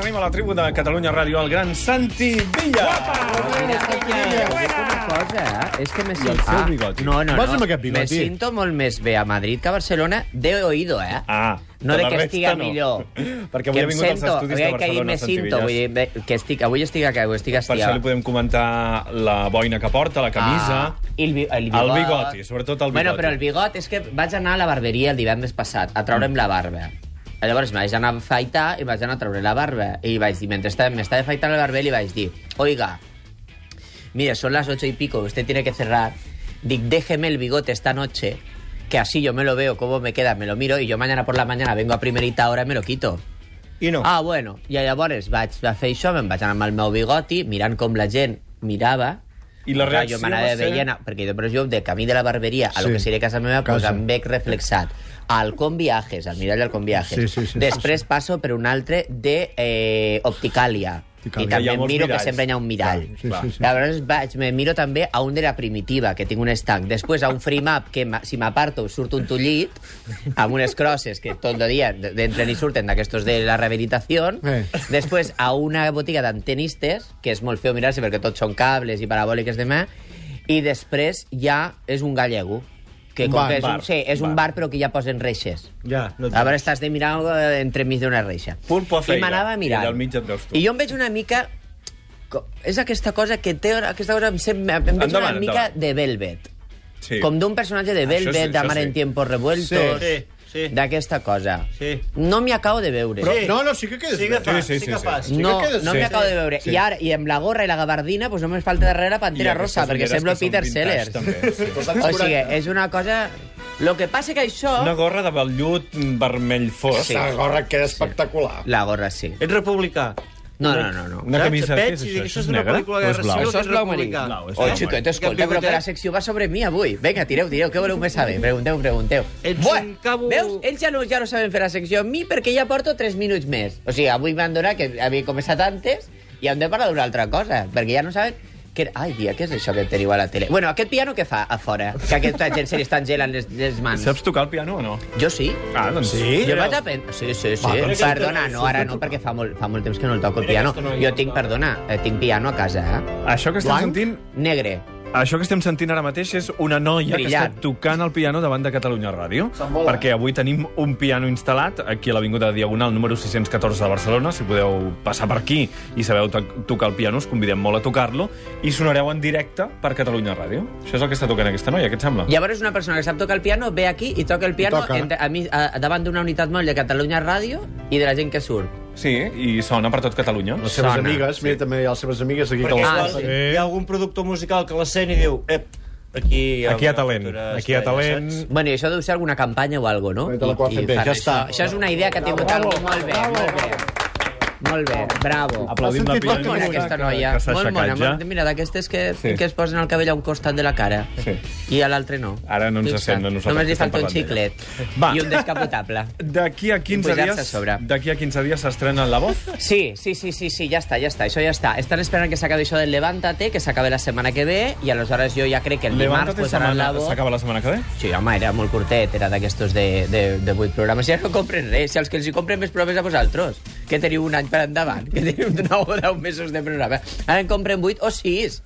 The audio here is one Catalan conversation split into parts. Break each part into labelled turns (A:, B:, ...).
A: tenim a la tribu de Catalunya Ràdio, el gran Santi Villa.
B: Mira, escolta, dic una cosa, eh? És que me sento...
A: seu bigoti.
B: No, no,
C: Vas
B: no.
C: amb aquest bigoti?
B: Me siento molt més bé a Madrid que a Barcelona de oído, eh?
A: Ah,
B: no
A: de
B: de
A: la
B: que
A: resta
B: estiga
A: no.
B: millor.
A: Perquè avui
B: Que
A: ha
B: em
A: vingut als
B: sento,
A: estudis de
B: avui que
A: Barcelona,
B: ahir me
A: Santi
B: sinto,
A: Villas.
B: vull dir, bé, que estic, avui estic a cau, estic a
A: Per això
B: estiar.
A: li podem comentar la boina que porta, la camisa...
B: Ah, i el, bi el, bigot.
A: El bigoti, sobretot el
B: Bueno,
A: bigoti.
B: però el bigot és que vaig anar a la barberia el divendres passat a treure'm la barba. Llavors me vaig anar a afaitar i vaig anar a treure la barba. I vaig dir, mentre estava- m'estava afaitant la barba, li vaig dir, oiga, mire, son las ocho y pico, usted tiene que cerrar. Dic, déjeme el bigote esta noche, que así yo me lo veo, cómo me queda, me lo miro y yo mañana por la mañana vengo a primerita hora y me lo quito.
C: I no.
B: Ah, bueno, i llavors vaig a fer això, me'n vaig anar amb el meu bigoti, mirant com la gent mirava,
A: I la
B: Clar,
A: reacció
B: jo m'anava
A: va ser-
B: veient, perquè després jo de camí de la barberia a lo
C: Sí.
B: que seria casa meva, pues
C: Casa.
B: em veig reflexat al Conviajes, al mirall del Conviajes.
C: Sí, sí, sí,
B: Després passo per un altre de eh, Opticalia.
C: Opticalia.
B: I
A: Hi
B: també
A: ha
B: em
A: molts
B: miro
A: miralls.
B: que sempre hi ha un mirall.
C: Clar, sí, sí, sí.
B: Llavors vaig, me miro també a un de la primitiva, que tinc un estanc. Després a un free map, que ma- si m'aparto surt un tullit, amb unes crosses que tot el dia d- d'entren i surten d'aquestos de la rehabilitació.
C: Eh.
B: Després a una botiga d'antenistes, que és molt feo mirar-se perquè tots són cables i parabòliques de mà. I després ja és un gallego, que
C: Un
B: com
C: bar,
B: que és, un,
C: bar,
B: sí, és un bar però que ja posen reixes.
C: Ja, no et
B: A veure, estàs de mirar algo entremig d'una reixa.
A: Pulpo a feina.
B: I m'anava mirant.
A: I allà al mig et veus tu.
B: I jo em veig una mica... co- És aquesta cosa que té... Aquesta cosa em, sem... em veig
A: Endavant,
B: una mica
A: endavant.
B: de Velvet.
A: Sí.
B: Com d'un personatge de
A: Això sí,
B: Velvet,
A: això
B: de Mar en
A: sí.
B: tiempos revueltos...
D: Sí, sí, sí.
B: D'aquesta cosa.
D: Sí.
B: No m'hi acabo de veure.
C: Però,
D: Sí.
C: No, no, sí que quedes
D: Sí que
C: bé.
D: fa, sí,
A: sí,
D: que
A: sí.
D: fas.
C: Sí
B: No,
C: que quedes-
B: no m'hi
C: sí.
B: acabo de veure.
C: Sí.
B: I ara, i amb la gorra i la gabardina, doncs només falta darrere Pantera
A: I
B: Rosa,
A: aquestes
B: perquè
A: ulleres
B: sembla
A: que són
B: Peter
A: vintage,
B: Sellers.
A: També, sí.
B: O sigui, és una cosa... Lo que passa que això...
A: Una gorra de vellut vermell fosc.
B: Sí.
A: Sí.
C: La gorra queda espectacular.
B: La gorra sí.
A: Eh,
D: Ets republicà.
B: No, no, no, no.
A: Una
D: Saps?
A: camisa,
D: Et
A: què
D: veig
A: és
D: i
A: això?
D: dic,
A: Això
D: Això
A: és
D: és una
A: negre?
D: pel·lícula
A: O
D: de
A: és
D: guerra
A: blau?
D: civil,
B: Això
D: que
B: és
D: és
B: blau marí.
D: republicà.
A: Blau, és
B: Oi,
A: blau
B: xiquet,
A: marí.
B: escolta, però que la secció va sobre mi avui. Vinga, tireu, tireu, què voleu més saber? Pregunteu, pregunteu.
D: Ets
B: Buah,
D: un cabo-
B: Veus? Ells ja no, ja no saben fer la secció amb mi perquè ja porto 3 minuts més. O sigui, avui m'han donat que havia començat antes i hem de parlar d'una altra cosa, perquè ja no saben que... Ai, dia, què és això que teniu a la tele? Bueno, aquest piano què fa a fora? Que aquesta gent se li estan gelant les, les mans.
A: Saps tocar el piano o no?
B: Jo sí.
A: Ah, doncs sí. doncs
B: Jo vaig aprendre... Sí, sí, sí.
C: Va, però
D: aquesta
B: perdona,
D: no-
B: no, ara no, perquè fa molt, fa molt temps que no el toco el piano.
D: aquesta no hi
B: Jo
D: toca.
B: tinc, perdona, eh, tinc piano a casa, eh?
A: Això que estem
C: Blanc?
A: sentint...
B: Negre.
A: Això que estem sentint ara mateix és una noia que
B: Brillant.
A: està tocant el piano davant de Catalunya Ràdio, perquè avui tenim un piano instal·lat aquí a l'Avinguda Diagonal número 614 de Barcelona. Si podeu passar per aquí i sabeu to tocar el piano, us convidem molt a tocar-lo i sonareu en directe per Catalunya Ràdio. Això és el que està tocant aquesta noia, què et sembla?
B: Llavors una persona que sap tocar el piano ve aquí i toca el piano
C: toca.
B: entre, a mi, a, davant d'una unitat mòbil de Catalunya Ràdio i de la gent que surt.
A: Sí, i sona per tot Catalunya.
C: Les seves
B: Sona.
C: amigues, mira, també hi ha les seves amigues aquí.
D: Perquè
C: que les
B: Ah,
D: ah,
C: porten.
B: sí.
D: hi ha algun productor musical que l'escena i diu... Ep, aquí hi ha,
E: Aquí hi ha
D: una
E: talent,
D: futura
E: aquí hi ha
D: estrella",
E: talent.
D: saps?
B: Bueno, i això deu ser alguna campanya o algo, no?
C: Te la
B: I-
C: quan
B: i
C: ben bé,
B: fan
C: ja
B: això.
C: està.
B: Això és una idea que ha tingut algú molt bé, molt bé. Molt bé, bravo.
A: Aplaudim
C: Has
A: la
C: sentit
A: pila.
C: molt
B: Molt mona aquesta noia,
A: Que s'ha
B: molt mona.
A: aixecat ja.
B: molt- Mira, d'aquestes que,
A: Sí.
B: que es posen el cabell a un costat de la cara
A: Sí.
B: i a l'altre no.
A: Ara no ens
B: Fixa't.
A: sent a nosaltres
B: Només
A: que
B: li
A: estem
B: falta un
A: parlant d'ella.
B: xiclet
A: Va.
B: i un descapotable.
A: D'aquí a 15
B: Pujar-se a
A: dies,
B: sobre.
A: d'aquí a 15 dies s'estrena La Voz.
B: Sí, sí, sí, sí, sí, ja està, ja està, això ja està. Estan esperant que s'acabi això del Levántate, que s'acabi la setmana que ve, i aleshores jo ja crec que el dimarts
A: Levántate
B: posaran la
A: setmana,
B: voz...
A: s'acaba la setmana que ve.
B: Sí, home, era molt curtet, era d'aquestos de, de, de 8 programes. Ja no compren res, si els que els hi compren més proves a vosaltres, que teniu un any per endavant, que teniu 9 o 10 mesos de programa. Ara en compren 8 o 6,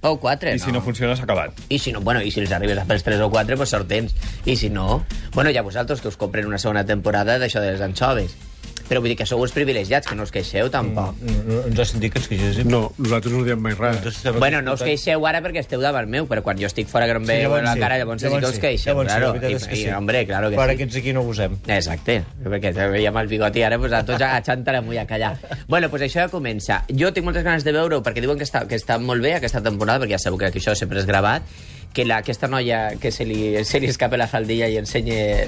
B: o 4,
A: I si no funciona, s'ha acabat.
B: i si no, bueno, i si els arribes a fer els 3 o 4, pues sort tens. I si no, bueno, ja vosaltres que us compren una segona temporada d'això de les anxoves. Però vull dir que sou uns privilegiats, que no us queixeu tampoc.
D: No, no, ens has sentit que ens queixéssim?
C: No, nosaltres no diem mai res.
A: Doncs
D: Ens has-
B: Bueno, no us queixeu ara perquè esteu davant meu, però quan jo estic fora que no em veieu
D: llavors
B: la
D: sí.
B: cara, llavors, sí que us queixeu,
D: Llavors sí, la
B: claro.
D: veritat és que
B: I,
D: sí.
B: i, hombre, claro que
D: Per
B: sí.
D: aquests aquí no abusem.
B: Exacte, perquè ja amb el bigoti ara pues, a tots a xantar amunt i a callar. Bueno, pues això ja comença. Jo tinc moltes ganes de veure-ho perquè diuen que està, que està molt bé aquesta temporada, perquè ja sabeu que això sempre és gravat, que la, aquesta noia que se li, se li escapa la faldilla i ensenya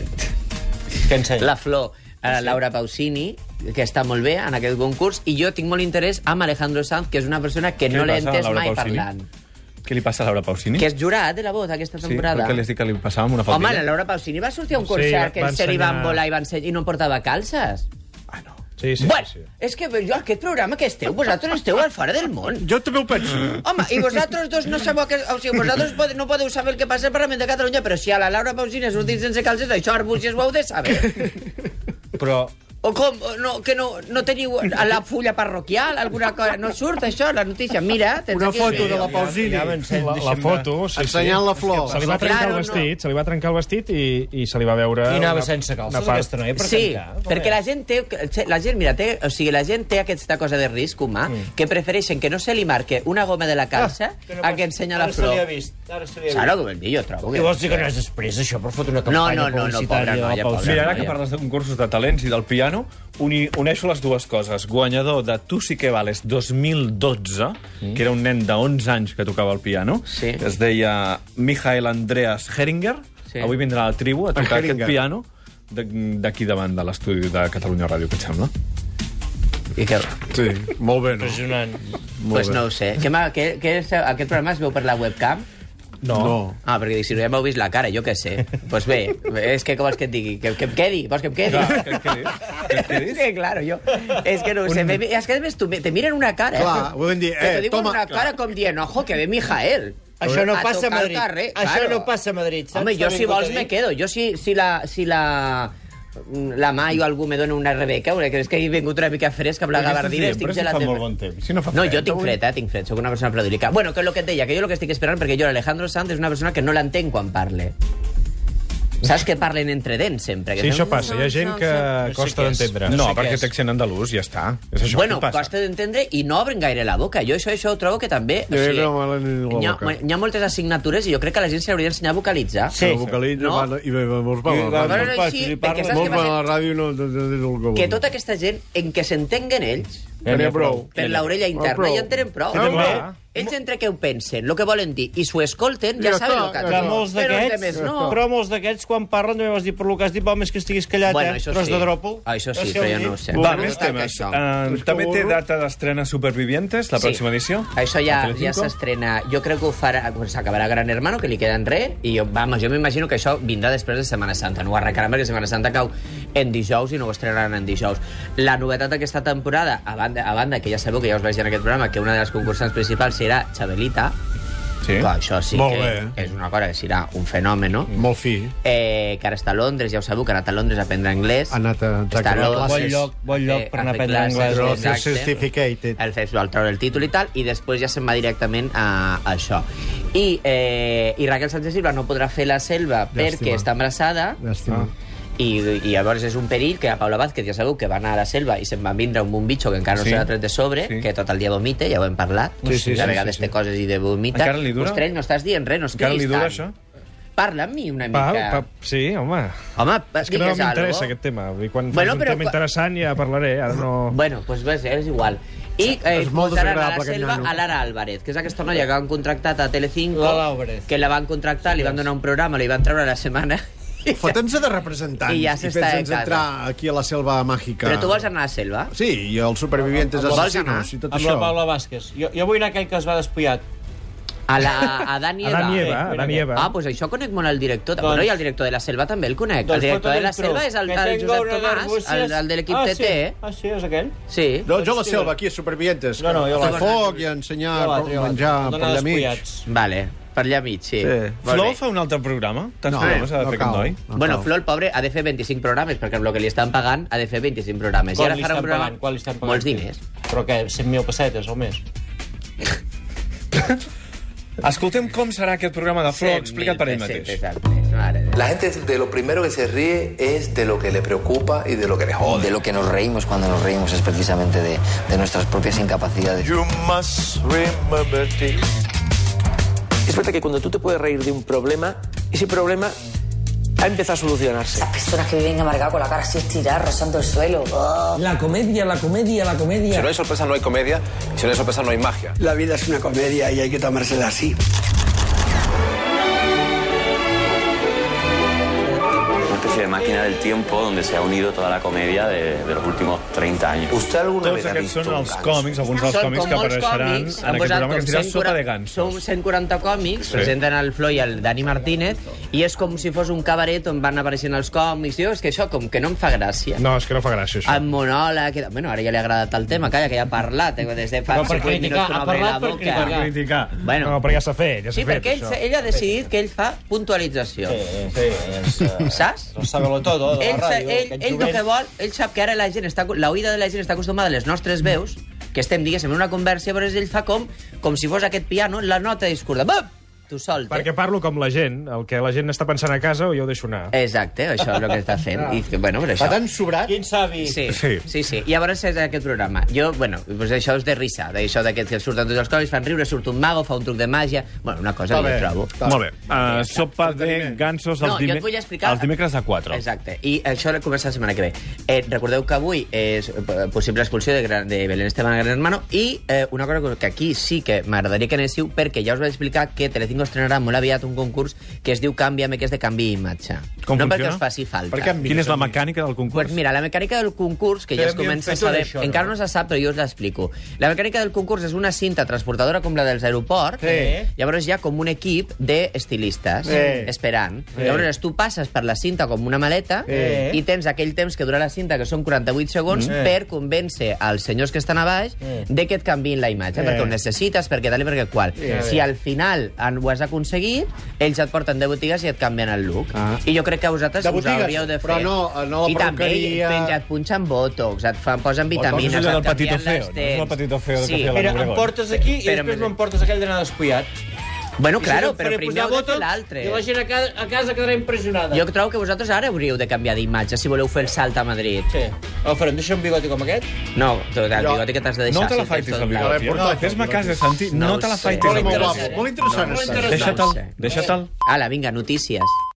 D: Què ens
B: la flor a la Laura Pausini, que està molt bé en aquest concurs, i jo tinc molt interès amb Alejandro Sanz, que és una persona que
A: Què
B: no
A: li
B: l'he
A: passa a
B: entès
A: Laura
B: mai
A: Pausini?
B: parlant.
A: Què li passa a Laura Pausini?
B: Que és jurat de la voz aquesta
A: Sí,
B: temporada.
A: perquè li estic que li passava amb una
B: Home,
A: faldilla.
B: la Laura Pausini va sortir a un
E: Sí,
B: concert
E: va-
B: que
E: va
B: en sèrie van
E: ensenyar-
B: volar i, van ser... i no portava calces.
E: Sí, sí,
B: bueno,
E: sí, sí.
B: és que jo aquest programa que esteu, vosaltres esteu al fora del món.
C: Jo també ho penso.
B: Home, i vosaltres dos no sabeu que... O sigui, vosaltres pode, no podeu saber el que passa al Parlament de Catalunya, però si a la Laura Pausini ha sortit sense calces, això Arbúcies ho heu de saber.
D: Però
B: O com? O No, que no, no teniu a la fulla parroquial? Alguna cosa? No surt això, la notícia? Mira, tens
C: Una
B: aquí...
C: foto de la Pausini.
D: Ja m'enseny,
E: La, la
D: deixa'm
E: foto, sí, sí.
C: Ensenyant la flor.
E: Se li va trencar
B: Claro,
E: el
B: no.
E: vestit, se li va trencar el vestit i, i se li va veure...
D: I anava
E: una-
D: sense calces,
E: una part-
D: aquesta noia, per
B: Sí,
D: tancar.
B: perquè la gent té... La gent, mira, té, o sigui, la gent té aquesta cosa de risc humà mm. que prefereixen que no se li marque una goma de la calça ah, que no a que ensenya la
D: Ara se li ha
B: flor.
D: vist, ara se li ha
B: Claro
D: vist.
B: que vol dir, jo trobo que...
D: I vols dir que no és després, això, per fotre una
B: No,
D: campanya
B: no, no, no, pobra
D: publicitària?
B: noia, pobra
A: Mira, ara
B: noia.
A: que parles de concursos de talents i del piano, uni, uneixo les dues coses. Guanyador de Tu sí que vales 2012, mm. que era un nen de 11 anys que tocava el piano,
B: Sí.
A: que es deia Michael Andreas Heringer.
B: Sí.
A: Sí. Avui vindrà a la tribu a tocar
C: Heringer.
A: aquest piano de- d'aquí davant de l'estudi de Catalunya Ràdio, què et sembla?
B: I que,
C: Sí, molt bé, no?
D: Impressionant.
B: pues no ho sé. Que, ma- que, que és, aquest programa es veu per la webcam?
C: No. no.
B: Ah, perquè dic, si no ja m'heu vist la cara, jo què sé. Doncs pues bé, és que com vols que et digui? Que, que em quedi? Vols que em quedi?
E: Ah,
A: Clar, que- que dius? Que- que dius?
B: És que, claro, jo... És que no ho sé. Me, és que, a més, tu, me- te miren una cara.
C: Clar, volen dir,
B: Que
C: eh,
B: te diuen
C: toma,
B: una cara com dient, ojo, que ve Mijael.
D: Això no
B: A tocar
D: passa a
B: el
D: Madrid.
B: Carrer,
D: Això
B: claro.
D: no passa a Madrid, saps?
B: Home, jo
D: T'ha
B: si
D: vingut
B: vols
D: a dir?
B: me quedo. Jo si, si la... Si la la mà o algú me dona una Rebeca, veure, creus que he vingut una mica fresca amb la gabardina, estic
E: si
B: gelat
E: fa
B: de...
E: molt bon temps. Si no fa
B: No,
E: fred,
B: jo tinc
E: avui.
B: fred, eh, tinc fred, sóc una persona predilecta. Bueno, que és el que et deia, que jo el que estic esperant, perquè jo l'Alejandro Sanz és una persona que no l'entenc quan parle. Saps que parlen entre dents sempre? Que
E: Sí,
B: no-
E: això passa. Hi ha gent que
D: no sé
E: costa
D: què és.
E: d'entendre.
A: No,
D: No sé
A: no
D: què
A: perquè
D: és.
A: té accent andalús, ja està. És això
B: Bueno,
A: que passa.
B: costa d'entendre i no obren gaire la boca. Jo això, això ho trobo que també...
C: Jo crec que no m'obren la
B: hi, ha,
C: boca.
B: hi ha moltes assignatures i jo crec que la gent s'hauria d'ensenyar a vocalitzar.
D: Sí.
C: La vocalitza
B: No.
C: va- i va- va- molts van a la
D: I va-
C: ràdio.
B: Però no
D: Pas,
B: així,
D: li
B: perquè
D: parles
B: saps
C: Molts
B: què
C: van a la
B: passa?
C: ràdio i no no- no- no- no- no-
B: Que tota aquesta gent, en que s'entenguen ells,
C: Ja n'hi ha prou.
B: per l'orella interna,
C: prou.
B: ja en tenen prou.
E: Sí, també.
B: Ells entre què ho pensen, el que volen dir, i s'ho escolten, ja,
C: Ja
B: saben
C: està,
B: el que
C: ja
B: han
D: Però
B: dit.
C: està.
D: molts
B: Però els
D: d'aquests,
B: demés no.
D: però molts d'aquests, quan parlen, també vas dir, per lo que has dit, val més que estiguis callat,
B: Bueno,
D: eh?
B: això
D: Tros
B: sí.
D: de dròpol.
B: Ah, això sí,
D: Vas
B: però
D: fer
B: jo
D: un
B: no ho
D: dit.
B: sé.
A: Va,
B: Bueno,
A: més
B: està
A: temes.
B: això.
A: Uh, també té data d'estrena Supervivientes, la pròxima edició?
B: Això ja,
A: A
B: ja
A: Telecinco?
B: s'estrena. Jo crec que ho farà... quan S'acabarà Gran Hermano, que li queda en res, i jo, vamos, jo m'imagino que això vindrà després de Setmana Santa. No ho arrencaran perquè Setmana Santa cau en dijous i no ho estrenaran en dijous. La novetat d'aquesta temporada, a banda, a banda que ja sabeu que ja us vaig dir en aquest programa, que una de les concursants principals serà Xabelita,
A: Sí.
B: que això sí
C: Molt
B: que
C: bé.
B: és una cosa que serà un fenomen, no?
C: Molt fi.
B: Eh, que ara està a Londres, ja ho sabeu, que ha anat a Londres a aprendre anglès.
C: Ha anat a-
B: Està Londres.
C: a
B: Eh,
C: classes. Bon
D: lloc, bon lloc per anar a
B: fer
D: aprendre
B: classes,
D: anglès. eh?
C: Però
B: exacte.
C: certificated.
B: El fes va treure el títol i tal, i després ja se'n va directament a, a això. I, eh, I Raquel Sánchez Silva no podrà fer la selva Llàstima. perquè està embarassada.
C: Llàstima.
B: Ah. I, I llavors és un perill que a Paula Vázquez, ja sabeu, que va anar a la selva i se'n va vindre un bombitxo que encara no
A: Sí.
B: s'ha tret de sobre,
A: Sí.
B: que tot el dia vomita, ja ho hem parlat.
C: Sí, sí,
B: a
C: sí,
B: vegades
C: sí,
B: té
C: sí.
B: coses i de vomita.
A: Encara li dura?
B: Ostres, no estàs dient res, no
A: Encara
B: escriguis
A: li dura,
B: tant.
A: això?
B: Parla amb mi una
E: Pa,
B: mica.
E: pa, sí, home.
B: Home,
E: És que no
B: digues
E: m'interessa
B: algo.
E: aquest tema. Vull dir, quan
B: Bueno,
E: bueno, un
B: però
E: tema
B: quan-
E: interessant ja parlaré. Ara no...
B: Bueno, doncs pues, és igual. I eh,
C: És molt
B: portaran a la
C: desagradable aquest
B: selva
C: nano.
B: a Lara Álvarez, que és aquesta noia que han contractat a Telecinco,
D: Lara Álvarez.
B: que la van contractar, li van donar un programa, li van treure la setmana.
C: Fotem-se de representants
B: I
C: i,
B: ja
C: i
B: s'està
C: pensa'ns
B: de casa.
C: entrar aquí a la selva màgica.
B: Però tu vols anar a la selva?
C: Sí, i els supervivientes
B: Vols anar?
C: assassinos i tot
D: Amb
C: això.
D: la Paula Vázquez. Jo, jo vull anar aquell que es va despullat.
B: A, la, a Dani
E: A
B: Eva?
E: Dani Eva,
D: Eh,
E: a Dani Eva.
B: Ah, doncs pues això conec molt el director.
D: Doncs-
B: Doncs... Bueno, i el director de la selva també el conec.
D: Doncs
B: el director
D: fota'm
B: de la
D: un tros,
B: selva és el,
D: que
B: el
D: tengo
B: Josep
D: una
B: Tomàs,
D: d'arbúcies.
B: el, el de l'equip eh?
D: Ah,
B: TT.
D: Sí. Ah, sí, és aquell?
B: Sí.
C: Doncs jo a la selva, aquí, a supervivientes.
D: No, no, jo
C: a
D: la-
C: fer foc i a ensenyar
D: Jo
C: ja
D: l'altre, jo
C: com menjar
D: l'altre.
C: per allà mig.
D: Despullats.
B: Vale, per allà mig, sí.
C: Sí.
B: Molt
A: Flo
B: bé.
A: fa un altre programa? Tants programes ha de fer aquest noi?
B: Bueno, Flo, el pobre, ha de fer 25 programes, perquè amb el que li estan pagant ha de fer 25 programes. I
D: Quan
B: ara
D: li
B: farà un
D: estan
B: programa...
D: pagant? Quan li estan pagant?
B: Molts diners.
D: Però què, 100.000 pessetes o més?
A: Escoltem com serà aquest programa de Flo,
B: Cent
A: explicat
B: mil
A: per ell mateix.
B: pessetes al mes, mare de Déu.
F: La gente de lo primero que se ríe es de lo que le preocupa y de lo que le jode.
G: De lo que nos reímos cuando nos reímos es precisamente de, de nuestras propias incapacidades.
H: You must remember this.
I: Es verdad que cuando tú te puedes reír de un problema, ese problema ha empezado a solucionarse.
J: Personas que viven amargadas con la cara así estirada, rozando el suelo.
K: La comedia, la comedia, la comedia.
F: Si no hay sorpresa no hay comedia, si no hay sorpresa no hay magia.
K: La vida es una comedia y hay que tomársela así.
I: Una especie de máquina del tiempo donde se ha unido toda la comedia de, de los últimos 30 años.
F: ¿Usted alguna
A: Tots
F: vez ha
A: aquests
F: visto
A: són
F: un
A: els
F: ganso?
A: còmics, alguns dels
B: Són
A: còmics
B: com
A: que
B: molts
A: apareixeran
B: còmics,
A: en
B: han
A: aquest
B: posat
A: programa, que
B: com
A: es dirà
B: 140
A: Sopa de Gansos.
B: Són 140 còmics,
A: Sí.
B: sí. presenten el Flo i el Dani Martínez, i és com si fos un cabaret on van apareixent els còmics. Jo, és que això com que no em fa gràcia.
E: No, és que no fa gràcia, això.
B: En monòleg... i tal. Bueno, ara ja li ha agradat el tema, calla, que ja ha parlat. Eh? Des de fa
D: Però per
B: cinc minuts
D: criticar,
B: que no
D: ha
B: obre la
D: parlat per
B: boca.
D: criticar.
E: Ah. Criticar.
B: Bueno.
E: No, però ja s'ha fet, ja s'ha
B: Sí,
E: fet,
B: perquè ell,
E: això.
B: ell ha decidit que ell fa puntualització.
D: Sí, sí, és...
B: Saps?
D: Sábelo todo, todo, oh, de la
B: ell,
D: ràdio,
B: ell,
D: aquest
B: ell el
D: jovent.
B: que vol, ell sap que ara la gent està, la oïda de la gent està acostumada a les nostres veus, que estem, diguéssim, en una conversa, però ell fa com, com si fos aquest piano, la nota és curta. Bop! Tu solta.
E: Perquè parlo com la gent, el que la gent està pensant a casa, o jo ho deixo anar.
B: Exacte, això és el que està fent. I, que, bueno, per això.
C: Fa tan sobrat.
D: Quin savi?
B: Sí, sí,
E: Ah. Sí.
B: sí, sí. I llavors és aquest programa. Jo, bueno, doncs això és de risa, d'això d'aquests que surten tots els còmics, fan riure, surt un mago, fa un truc de màgia... Bueno, una cosa que jo trobo.
A: Molt bé. Uh, sopa de gansos els,
B: No, jo et vull explicar...
A: els dimecres a 4.
B: Exacte. I això comença la setmana que ve. Eh, recordeu que avui és eh, possible expulsió de, gran, de Belén Esteban a Gran Hermano i eh, una cosa que- que aquí sí que m'agradaria que anéssiu perquè ja us vaig explicar que Telecinco estrenarà molt aviat un concurs que es diu Canvia'm, que és de canvi imatge.
A: Com funciona?
B: no perquè us faci falta.
C: Per què em
A: Quina és la mecànica del concurs?
B: Pues mira, la mecànica del concurs, que ja es
D: Però hem
B: comença a
D: fet tot
B: saber...
D: això, no?
B: encara no se sap, però jo us l'explico. La mecànica del concurs és una cinta transportadora com la dels aeroports.
D: Sí.
B: Llavors hi ha com un equip d'estilistes
D: Sí.
B: esperant.
D: Sí.
B: Llavors tu passes per la cinta com una maleta
D: Sí.
B: i tens aquell temps que dura la cinta, que són 48 segons,
D: Mm.
B: per convèncer els senyors que estan a baix
D: Sí.
B: de que et canviïn la imatge, perquè ho necessites, perquè tal i perquè qual. Si al final en- ho has aconseguit, ells et porten de botigues i et canvien el look.
D: Ah.
B: I jo crec que vosaltres
C: De
B: us
C: botigues,
B: hauríeu de fer.
C: però no- no la
B: I també
C: perruqueria.
B: et penja- et punxen botox, et fan, posen vitamines,
A: és allò
B: et
A: del Patito
B: canvien les
A: Feo, no?
B: dents.
A: És el Patito Feo de
B: sí.
A: Café Latte.
D: Espera, em portes aquí i
B: Espera,
D: després
B: me-
D: me'n portes aquell d'anar descuidat.
B: Bueno,
D: I
B: claro,
D: si
B: però
D: faré
B: primer
D: posar
B: heu de fer
D: botox,
B: l'altre.
D: I la gent a casa, a casa quedarà impressionada.
B: Jo trobo que vosaltres ara hauríeu de canviar d'imatge si voleu fer el salt a Madrid.
D: Sí. El farem deixar un bigoti com aquest?
B: No, tu, el bigoti que t'has de deixar.
A: No te la
B: si el tens
A: faitis,
B: tot
A: la
B: blanc.
A: bigotia.
C: No,
A: No, Fes-me a casa, Santi.
B: No
A: No,
B: ho
A: te la
B: sé.
A: faitis.
C: Molt
A: la
C: guapo,
A: bigotia.
C: molt interessant.
D: Molt
C: està.
D: interessant.
A: Deixa-te'l,
B: No ho sé.
A: deixa-te'l.
B: Ala, vinga, notícies.